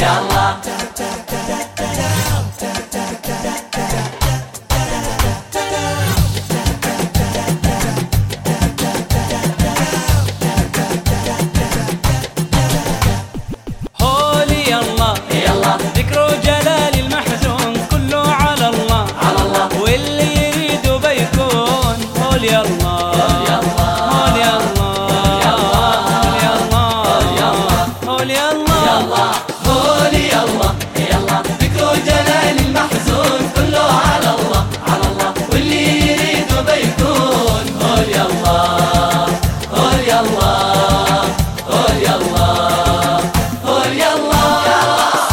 شاء الله هولي الله يلا ذكر جلال المحزون كله على الله على الله واللي يريده بيكون هولي الله هولي الله هولي الله هولي الله قولي يلا يلا ذكر جلال المحزون كله على الله على الله واللي يريده بيكون قول يلا قول يلا قول يلا قول يلا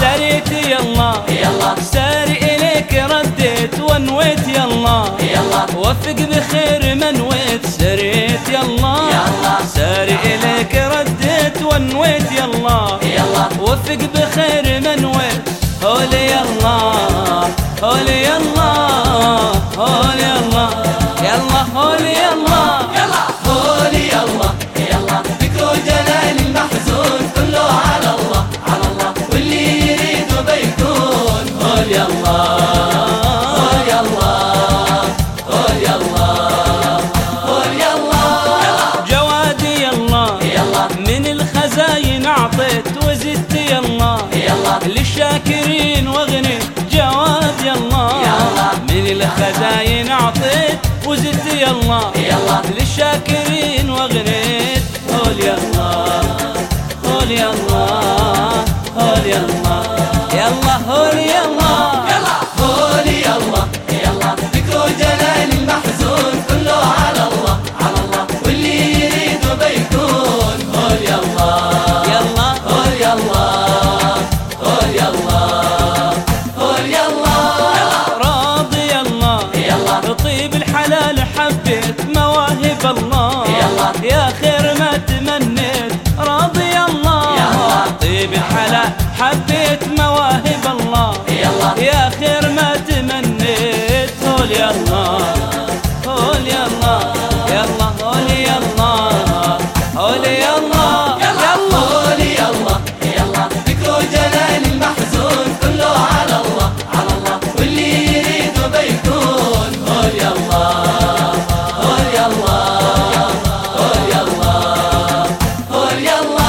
سريت يلا يلا ساري إليك ردت ونويت يلا يلا وفق بخير منويت سريت يلا يلا. ساري إليك ردت ونويت يلا يلا وفق بخير منويت هولي الله هولي الله هولي الله يلا هولي الله يلا قولي يلا يلا ذكر جلال المحزون كله على الله على الله واللي يريده بيكون قول يلا قول يلا قول يلا قول يلا جوادي يلا يلا من الخزاين أعطيت وزدت يلا يلا للشاكرين واغني جواد يلا يلا. من الخزاين اعطيت وزدت يلا يلا. للشاكرين واغنيت قول يلا قول يلا قول يلا يلا قول يلا يلا قولي يلا يلا ذكر جلال المحزون كله على الله على الله واللي يريده بيكون قول يلا يلا قول يلا قول يلا قول يلا راضي يلا يلا طيب الحلال حبيت مواهب الله يلا. يا خير ما تمنيت راضي الله يلا. طيب الحلال حبيت مواهب الله يلا يا خير ما تمنيت هول يلا هول يلا يلا هول يلا هول يلا يلا قول يلا يلا ذكر جلال المحزون كله على الله على الله واللي يريده بيكون قول يلا قول يلا قول يلا قول يلا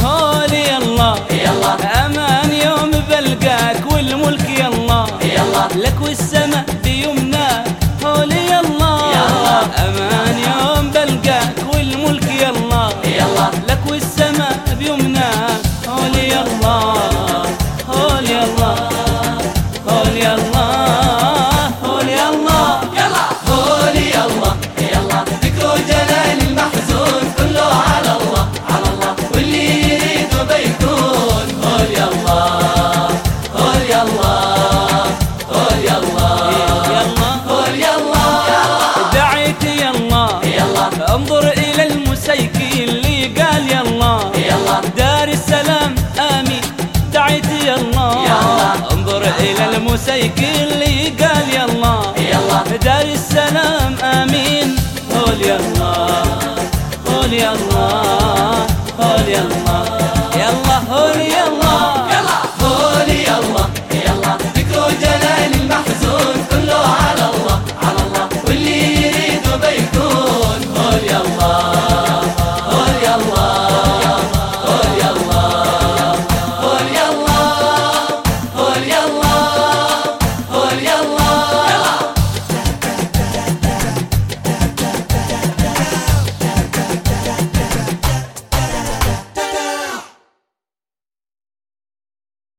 هول يلا يلا امان يوم بلقاك والملك يلا يلا لك والسماء بيمناك هولي الله يلا. امان يوم بلقاك والملك يلا يلا لك والسماء بيمناك هولي الله هولي الله هولي الله هولي الله يلا قولي يلا يلا ذكر جلال المحزون كله على الله على الله واللي يريده بيكون قول يلا قول يلا قول يلا يلا قول يلا دعيت يلا يلا انظر الى المسيكين اللي قال يلا يلا دار السلام آمين دعيت يا الله يلا. انظر إلى المسيك اللي قال يا الله يلا دار السلام آمين قول يا الله قول يا الله قول يا الله